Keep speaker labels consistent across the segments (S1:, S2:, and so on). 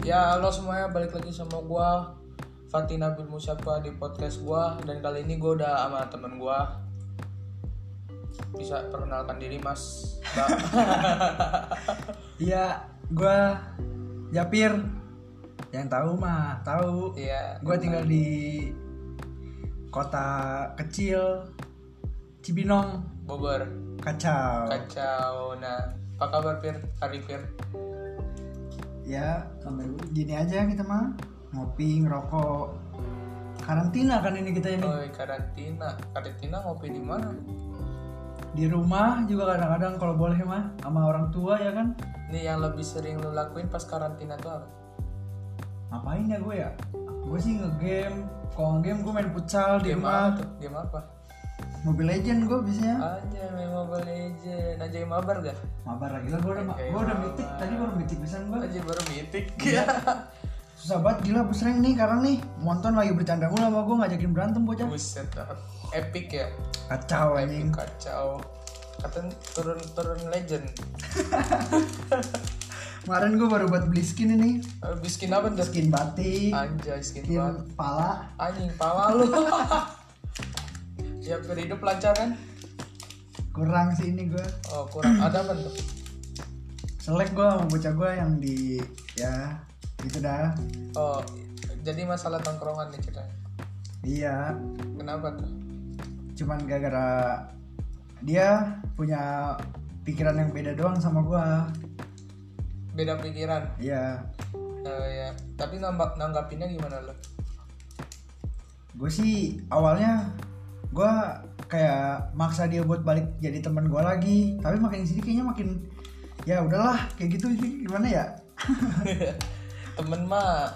S1: Ya halo semuanya balik lagi sama gua Fatih Nabil Musyafa di podcast gua dan kali ini gua udah sama temen gua bisa perkenalkan diri mas Mbak.
S2: Iya, gua Japir. Yang tahu mah tahu.
S1: Iya
S2: Gua tinggal di kota kecil Cibinong,
S1: Bogor
S2: kacau.
S1: kacau nah apa kabar Fir hari Fir
S2: Ya, gini aja kita mah ngopi, ngerokok. Karantina kan ini kita ini.
S1: Oi karantina karantina ngopi di mana
S2: Di rumah juga kadang-kadang kalau boleh mah sama orang tua ya kan.
S1: nih yang lebih sering lu lakuin pas karantina tuh apa
S2: Ngapain ya gue ya? Gue sih ngegame, kalau game gue main futsal di
S1: game
S2: rumah.
S1: apa tuh game apa
S2: Mobile Legend gue biasanya.
S1: aja main Mobile Legend aja mabar gak
S2: Mabar lagi lah gue udah
S1: Kayak
S2: gue udah
S1: mabar.
S2: mitik tadi baru mitik pisan gue
S1: aja baru mitik
S2: susah banget gila bus rank nih sekarang nih monton lagi bercanda mulu sama gue ngajakin berantem bocah
S1: buset dah. epic ya
S2: kacau anjing
S1: kacau katanya turun turun legend
S2: kemarin gue baru buat beli skin ini
S1: Eh, biskin apa tuh
S2: skin batik
S1: anjay skin
S2: skin
S1: banget
S2: pala
S1: anjing pala lu ya berhidup lancar kan
S2: kurang sih ini gue
S1: oh kurang ada apa tuh
S2: selek gue sama bocah gue yang di ya gitu dah
S1: oh jadi masalah tongkrongan nih kita
S2: iya
S1: kenapa tuh
S2: cuman gara-gara dia punya pikiran yang beda doang sama gue
S1: beda pikiran
S2: iya
S1: Eh, ya tapi nanggap nanggapinnya gimana lo
S2: gue sih awalnya gue kayak maksa dia buat balik jadi teman gue lagi tapi makin sini kayaknya makin ya udahlah kayak gitu sih gimana ya
S1: temen mah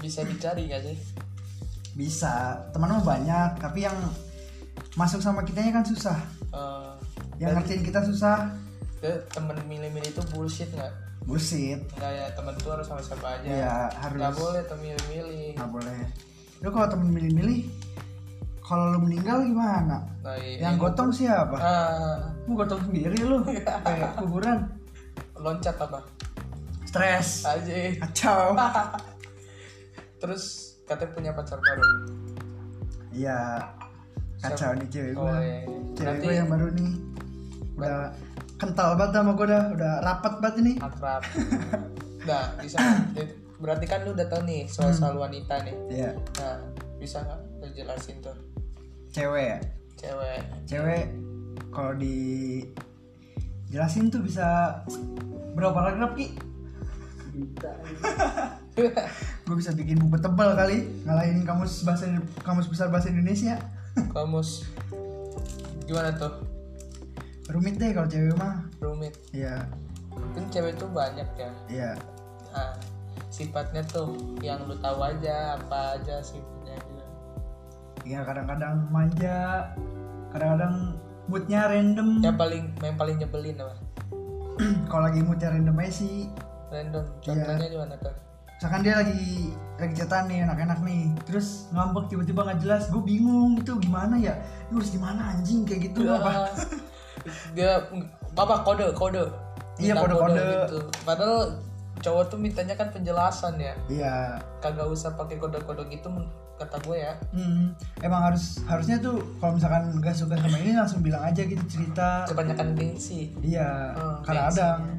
S1: bisa dicari gak sih
S2: bisa teman mah banyak tapi yang masuk sama kitanya kan susah
S1: Eh,
S2: yang ngertiin kita susah
S1: ya, temen milih-milih itu bullshit nggak
S2: bullshit
S1: nggak ya temen tuh harus sama siapa aja
S2: ya harus
S1: nggak boleh tuh milih-milih
S2: nggak boleh lu kalau temen milih-milih kalau lu meninggal gimana
S1: nah, i-
S2: yang gotong siapa
S1: ah,
S2: mau gotong sendiri lu kayak kuburan
S1: loncat apa
S2: stres
S1: aja
S2: kacau
S1: terus katanya punya pacar baru
S2: Iya. Kacau nih cewek
S1: oh,
S2: gue.
S1: iya.
S2: Cewek
S1: berarti
S2: gue yang baru nih. Udah kental banget sama gue dah, udah rapat banget ini.
S1: akrab nah bisa nggak? berarti kan lu udah tau nih soal soal wanita nih
S2: Iya,
S1: nah bisa nggak lu jelasin tuh
S2: cewek ya.
S1: cewek
S2: Cewek kalau di jelasin tuh bisa berapa paragraf Ki? Gue bisa bikin buku tebal kali, ngalahin kamus bahasa kamus besar bahasa Indonesia.
S1: kamus gimana tuh
S2: Rumit deh kalau cewek mah.
S1: rumit
S2: Iya,
S1: kan cewek tuh banyak ya
S2: iya.
S1: nah, sifatnya tuh yang lu tahu aja apa aja sifatnya gitu
S2: Iya kadang-kadang manja, kadang-kadang moodnya random.
S1: yang paling yang paling nyebelin apa
S2: kalau lagi mood yang random aja sih
S1: random contohnya gimana tuh
S2: misalkan dia lagi lagi chatan nih enak-enak nih terus ngambek tiba-tiba nggak jelas gue bingung itu gimana ya lu harus gimana anjing kayak gitu apa
S1: Ah, dia apa kode kode
S2: Iya,
S1: Minta
S2: kode-kode.
S1: gitu padahal cowok tuh mintanya kan penjelasan ya
S2: iya
S1: kagak usah pakai kode kode gitu men- kata gue ya
S2: hmm, emang harus harusnya tuh kalau misalkan gak suka sama ini langsung bilang aja gitu cerita
S1: kebanyakan gengsi
S2: iya
S1: Hmm,
S2: kadang-kadang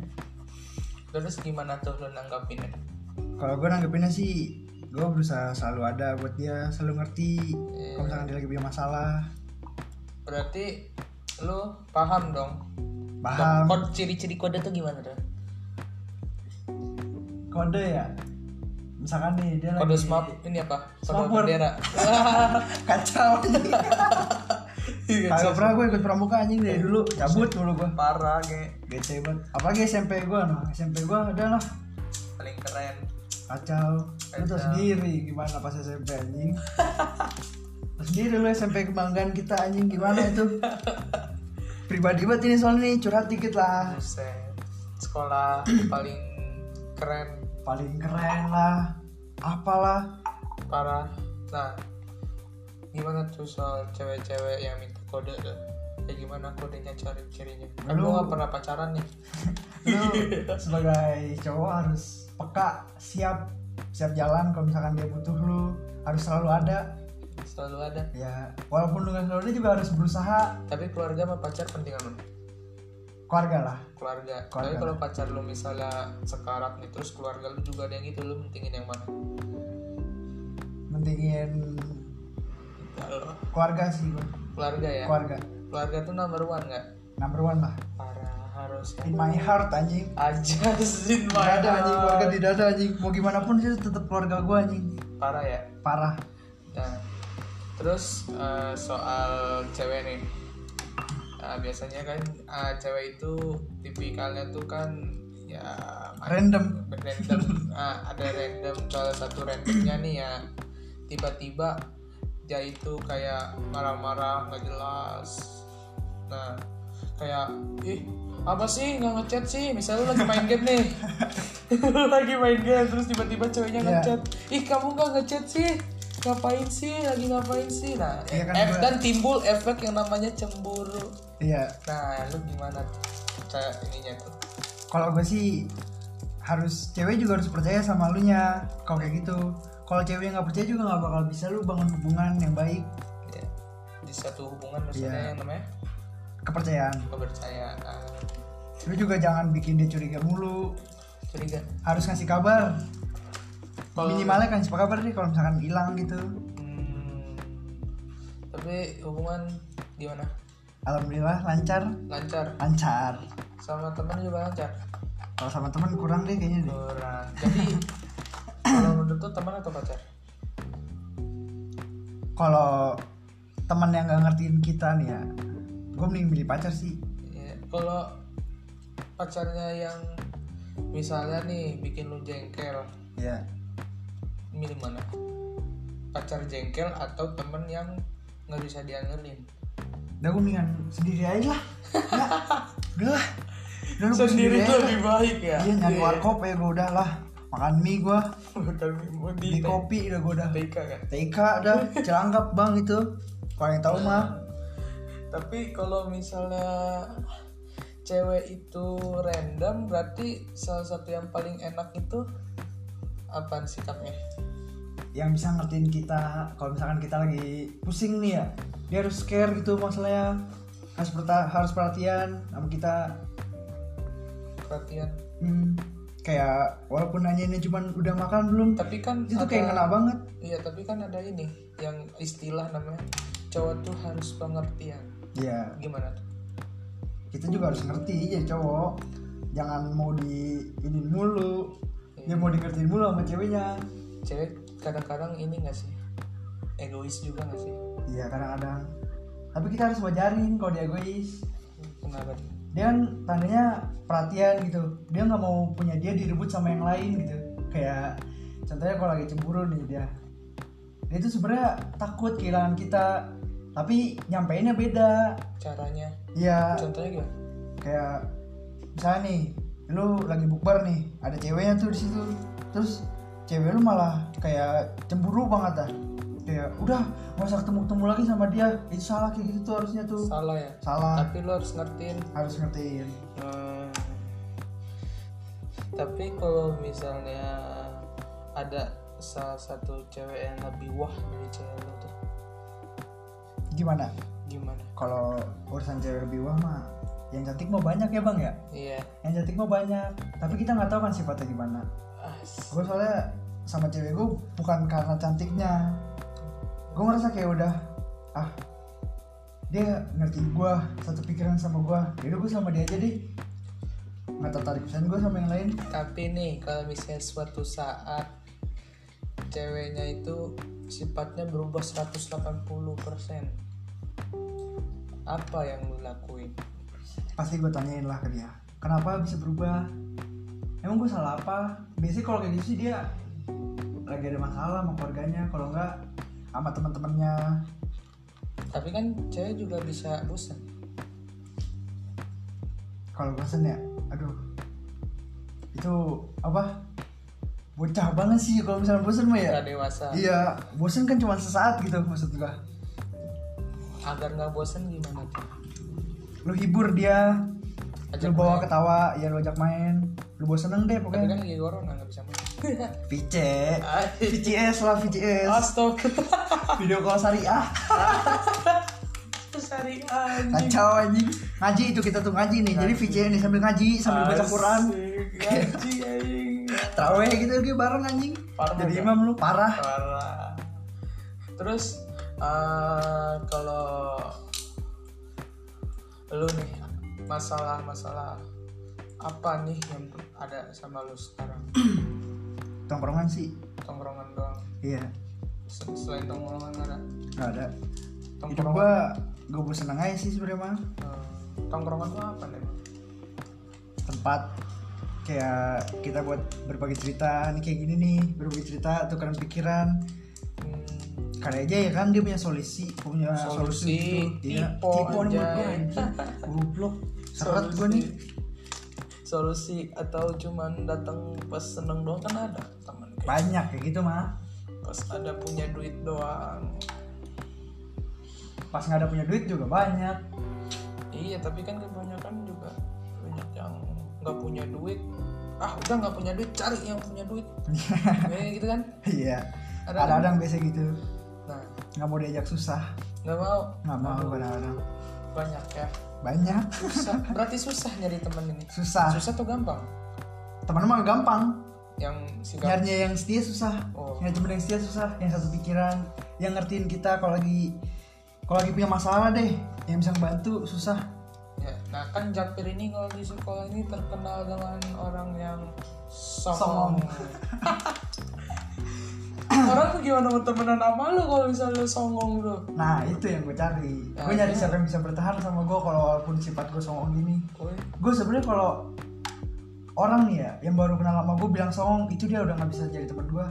S1: terus gimana tuh lo nanggapinnya
S2: kalau gue nanggepinnya sih gue berusaha selalu ada buat dia selalu ngerti
S1: Iya.
S2: kalau misalkan dia lagi punya masalah
S1: berarti lo paham dong
S2: paham
S1: kode ciri-ciri kode tuh gimana tuh
S2: kode ya misalkan nih dia
S1: kode
S2: lagi
S1: smart ini apa kode
S2: Smart word.
S1: bendera
S2: kacau Kagak Iya. pernah gue ikut pramuka anjing dari dulu cabut mulu gue
S1: parah ge
S2: bete banget apalagi SMP gue nah SMP gue adalah
S1: paling keren
S2: kacau lu tau sendiri gimana pas SMP anjing Tau sendiri lu SMP kebanggaan kita anjing gimana itu pribadi banget ini soalnya nih curhat dikit lah
S1: Buset. sekolah paling keren
S2: paling keren lah apalah
S1: parah nah gimana tuh soal cewek-cewek yang minta kode tuh kayak gimana kodenya cari cirinya kan
S2: Lu-
S1: gue gak pernah pacaran nih
S2: lu sebagai cowok harus peka siap siap jalan kalau misalkan dia butuh lu harus selalu ada
S1: selalu ada
S2: ya walaupun lu nggak selalu ada juga harus berusaha
S1: tapi keluarga sama pacar penting aman
S2: keluarga lah
S1: keluarga.
S2: Keluarga.
S1: tapi kalau pacar lu misalnya sekarat nih terus keluarga lu juga ada yang gitu lu pentingin yang mana
S2: mentingin
S1: kalau
S2: keluarga sih gua.
S1: keluarga ya
S2: keluarga
S1: keluarga tuh number one nggak
S2: number one lah
S1: parah harus
S2: in my heart anjing
S1: aja sin
S2: Gak ada anjing keluarga tidak ada anjing mau gimana pun sih tetap keluarga gua anjing
S1: parah ya
S2: parah
S1: Nah, terus eh, soal cewek nih. Ah, biasanya kan ah, cewek itu tipikalnya tuh kan ya
S2: random
S1: random. Ah, ada random salah satu randomnya nih ya tiba-tiba dia itu kayak marah-marah nggak jelas. Nah, kayak ih apa sih nggak ngechat sih misalnya lu lagi main game nih Lu lagi main game terus tiba-tiba ceweknya
S2: Iya.
S1: ngechat ih kamu nggak ngechat sih ngapain sih lagi ngapain sih nah
S2: Iya kan,
S1: ef-
S2: gua-
S1: dan timbul efek yang namanya cemburu
S2: iya
S1: nah lu gimana tuh cara ininya tuh
S2: kalau gue sih harus cewek juga harus percaya sama lu nya kalau kayak gitu kalau cewek nggak percaya juga nggak bakal bisa lu bangun hubungan yang baik
S1: ya. di satu hubungan maksudnya
S2: Gitu Iya.
S1: yang namanya
S2: kepercayaan
S1: kepercayaan
S2: lu juga jangan bikin dia curiga mulu
S1: curiga
S2: harus ngasih kabar
S1: Kalau-
S2: minimalnya kan kabar deh kalau misalkan hilang gitu
S1: Hmm. tapi hubungan gimana
S2: alhamdulillah lancar
S1: lancar
S2: lancar
S1: sama teman juga lancar
S2: kalau sama teman kurang deh kayaknya deh
S1: kurang jadi kalau menurut tuh teman atau pacar
S2: kalau teman yang nggak ngertiin kita nih ya gue mending milih pacar sih
S1: Ya, kalau pacarnya yang misalnya nih bikin lu jengkel,
S2: ya
S1: milih mana? Pacar jengkel atau temen yang nggak bisa diandelin?
S2: udah gue mendingan sendiri aja lah ya, udah lah udah lu
S1: Sendiri
S2: aja
S1: tuh
S2: lah.
S1: lebih baik ya.
S2: iya nyari warkop ya gue udah lah makan mie gue
S1: Bukan mau di
S2: beli kopi udah gue udah
S1: TK kan.
S2: TK dah celangkap bang itu kalau yang tahu mah
S1: Tapi kalau misalnya cewek itu random berarti salah satu yang paling enak itu apaan ya? sikapnya?
S2: yang bisa ngertiin kita kalau misalkan kita lagi pusing nih ya dia harus care gitu masalahnya harus perta- harus perhatian sama kita
S1: Perhatian.
S2: Hmm, kayak walaupun nanyainnya cuman udah makan belum
S1: Tapi kan
S2: itu
S1: ada-
S2: kayak ngena banget
S1: Iya tapi kan ada ini yang istilah namanya cowok tuh harus pengertian.
S2: ya
S1: Gimana tuh?
S2: kita juga harus ngerti ya cowok jangan mau di ini mulu dia mau dikertiin mulu sama ceweknya
S1: Cewek kadang-kadang ini gak sih? Egois juga gak sih?
S2: iya kadang-kadang tapi kita harus wajarin kalau dia egois
S1: Kenapa tuh?
S2: dia kan tandanya perhatian gitu dia nggak mau punya dia direbut sama yang lain gitu kayak contohnya kalau lagi cemburu nih dia dia itu sebenarnya takut kehilangan kita tapi nyampeinnya beda
S1: Caranya?
S2: ya
S1: Contohnya gimana?
S2: kayak misalnya nih lu lagi bukber nih ada ceweknya tuh di situ terus cewek lu malah kayak cemburu banget dah kayak udah gak usah ketemu ketemu lagi sama dia itu salah kayak gitu tuh harusnya tuh
S1: Salah ya?
S2: salah
S1: Tapi lo harus ngertiin.
S2: harus ngertiin
S1: Hmm. Tapi kalau misalnya ada salah satu cewek yang lebih wah dari cewek lo tuh
S2: gimana
S1: gimana?
S2: kalau urusan cewek lebih wah mah yang cantik mah banyak ya bang ya
S1: Iya.
S2: yang cantik mah banyak tapi kita nggak tahu kan sifatnya gimana
S1: As.
S2: gue soalnya sama cewek gue bukan karena cantiknya gue ngerasa kayak udah ah dia ngerti gue satu pikiran sama gue yaudah gue sama dia aja deh nggak tertarik pesan gue sama yang lain
S1: Tapi nih kalau misalnya suatu saat ceweknya itu sifatnya berubah 180% apa yang lu lakuin?
S2: pasti gue tanyain lah ke dia kenapa bisa berubah emang gue salah apa biasanya kalau kayak gitu sih dia lagi ada masalah sama keluarganya kalau enggak sama teman-temannya
S1: Tapi kan cewek juga bisa bosan.
S2: kalau bosan ya aduh itu apa bocah banget sih kalau misalnya bosan mah ya
S1: Nggak dewasa.
S2: iya bosan kan cuma sesaat gitu maksud gua
S1: Agar nggak bosan gimana tuh?
S2: lu hibur dia
S1: Ajak
S2: lu
S1: main.
S2: bawa
S1: kan?
S2: ketawa ya lu ajak main lu bawa seneng deh
S1: Tapi
S2: pokoknya
S1: kan lagi corona nggak bisa main.
S2: Pice VCS lah VCS
S1: Ah. Astaga
S2: Video call syariah
S1: Sari anjing
S2: Kacau anjing Ngaji itu kita tuh ngaji nih Jadi VCS nih sambil ngaji Sambil baca Quran
S1: Asik, Anjing anjing
S2: Terawih gitu gitu bareng anjing
S1: Parah,
S2: Jadi
S1: kan?
S2: imam lu parah
S1: Parah Terus eh, Kalau Lu nih Masalah-masalah Apa nih yang ada sama lu sekarang
S2: Tongkrongan sih
S1: Tongkrongan doang
S2: Iya
S1: Se- Selain tongkrongan ada
S2: Gak ada Hidup
S1: Tongkrongan
S2: gua Gua bosen aja sih sebenernya mah
S1: Eh, Tongkrongan tuh apa nih?
S2: tempat kayak kita buat berbagi cerita nih kayak gini nih berbagi cerita tukaran pikiran
S1: Hmm,
S2: kali aja ya kan dia punya solusi punya
S1: Solusi,
S2: solusi, gitu. Iya.
S1: tipe,
S2: tipe nih buat
S1: anjay.
S2: gue anjing. Goblok. seret
S1: Solusi.
S2: gue nih
S1: solusi atau cuman datang pas seneng doang kan ada teman kayak
S2: banyak kayak gitu mah
S1: pas ada punya duit doang
S2: pas nggak ada punya duit juga banyak
S1: iya tapi kan kebanyakan juga banyak yang nggak punya duit ah udah nggak punya duit cari yang punya duit kayak gitu kan
S2: iya
S1: Ada-
S2: ada kadang biasa gitu
S1: nah
S2: nggak mau diajak susah
S1: nggak mau
S2: nggak mau kadang-kadang
S1: banyak ya
S2: banyak
S1: susah berarti susah nyari teman ini
S2: susah
S1: susah tuh gampang
S2: teman mah gampang
S1: yang si gampang
S2: nyarinya yang setia susah
S1: Oh.
S2: nyari temen yang setia susah yang satu pikiran yang ngertiin kita kalau lagi kalau lagi punya masalah deh yang bisa ngebantu susah
S1: ya. nah kan Japir ini kalau di sekolah ini terkenal dengan orang yang songong
S2: Songong.
S1: orang tuh gimana mau temenan sama lu kalau misalnya lu songong lu
S2: nah itu yang gue cari
S1: Ya,
S2: gue nyari
S1: iya.
S2: siapa yang bisa bertahan sama gue kalau walaupun sifat gue songong gini
S1: Woi,
S2: gue sebenarnya kalau orang nih ya yang baru kenal sama gue bilang songong itu dia udah nggak bisa jadi teman gue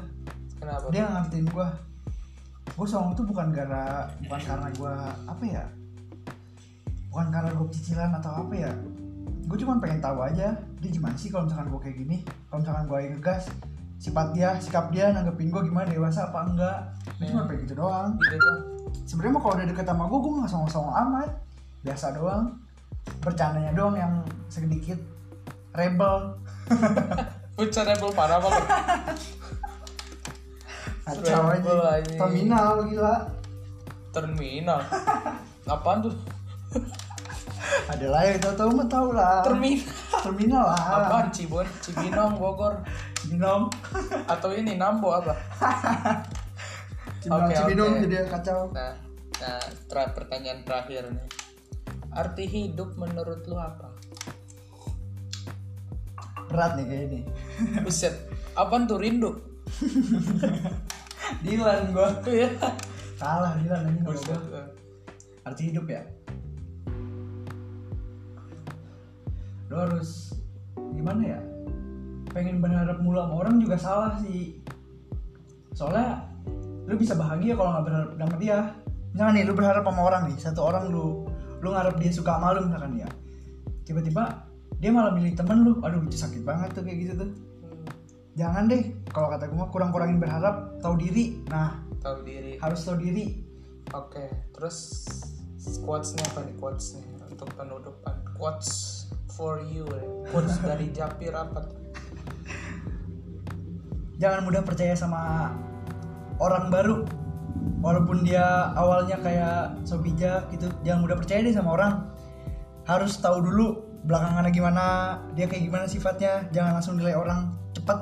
S1: kenapa
S2: dia nggak ngertiin gue gue songong tuh bukan gara bukan karena gue apa ya bukan karena gue cicilan atau apa ya gue cuma pengen tahu aja dia gimana sih kalau misalkan gue kayak gini kalau misalkan gue yang ngegas sifat dia sikap dia nanggepin gue gimana dewasa apa enggak gue cuma pengen gitu doang
S1: gitu doang
S2: sebenarnya mah kalau udah deket sama gue gue nggak songong-songong amat biasa doang bercandanya doang yang sedikit rebel
S1: Bocah rebel parah banget
S2: kacau
S1: Rebel
S2: aja
S1: aja.
S2: terminal gila
S1: terminal apaan tuh
S2: ada lah ya kita tahu mah tahu lah
S1: terminal
S2: terminal lah
S1: apaan Cibon Cibinong Bogor
S2: Cibinong
S1: atau ini Nambo apa
S2: Cibinong
S1: Oke,
S2: Cibinong
S1: oke.
S2: jadi kacau
S1: nah nah tra- pertanyaan terakhir nih arti hidup menurut lu apa
S2: berat nih kayak ini
S1: buset apaan tuh rindu
S2: Dilan gua
S1: Iya.
S2: kalah Dilan ini nggak
S1: buset
S2: gua arti hidup ya lo harus gimana ya pengen berharap mulu sama orang juga salah sih soalnya lu bisa bahagia kalau nggak berharap sama dia jangan nih lu berharap sama orang nih satu orang lu lu ngarep dia suka sama lu misalkan dia tiba-tiba dia malah milih temen lu aduh itu sakit banget tuh kayak gitu tuh
S1: Hmm,
S2: jangan deh kalau kata gue mah kurang-kurangin berharap tahu diri nah
S1: tahu diri
S2: harus tahu diri
S1: oke terus quotesnya apa nih quotesnya untuk penutupan quotes for you eh. quotes dari Japir apa tuh?
S2: jangan mudah percaya sama orang baru walaupun dia awalnya kayak so bijak gitu jangan mudah percaya deh sama orang harus tahu dulu belakangannya gimana dia kayak gimana sifatnya jangan langsung nilai orang cepet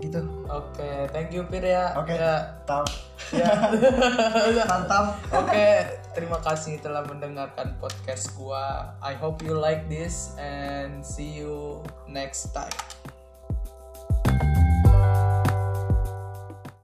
S2: gitu
S1: oke thank you Pir ya
S2: oke
S1: Ya,
S2: mantap mantap
S1: Oke, terima kasih telah mendengarkan podcast gua. I hope you like this and see you next time.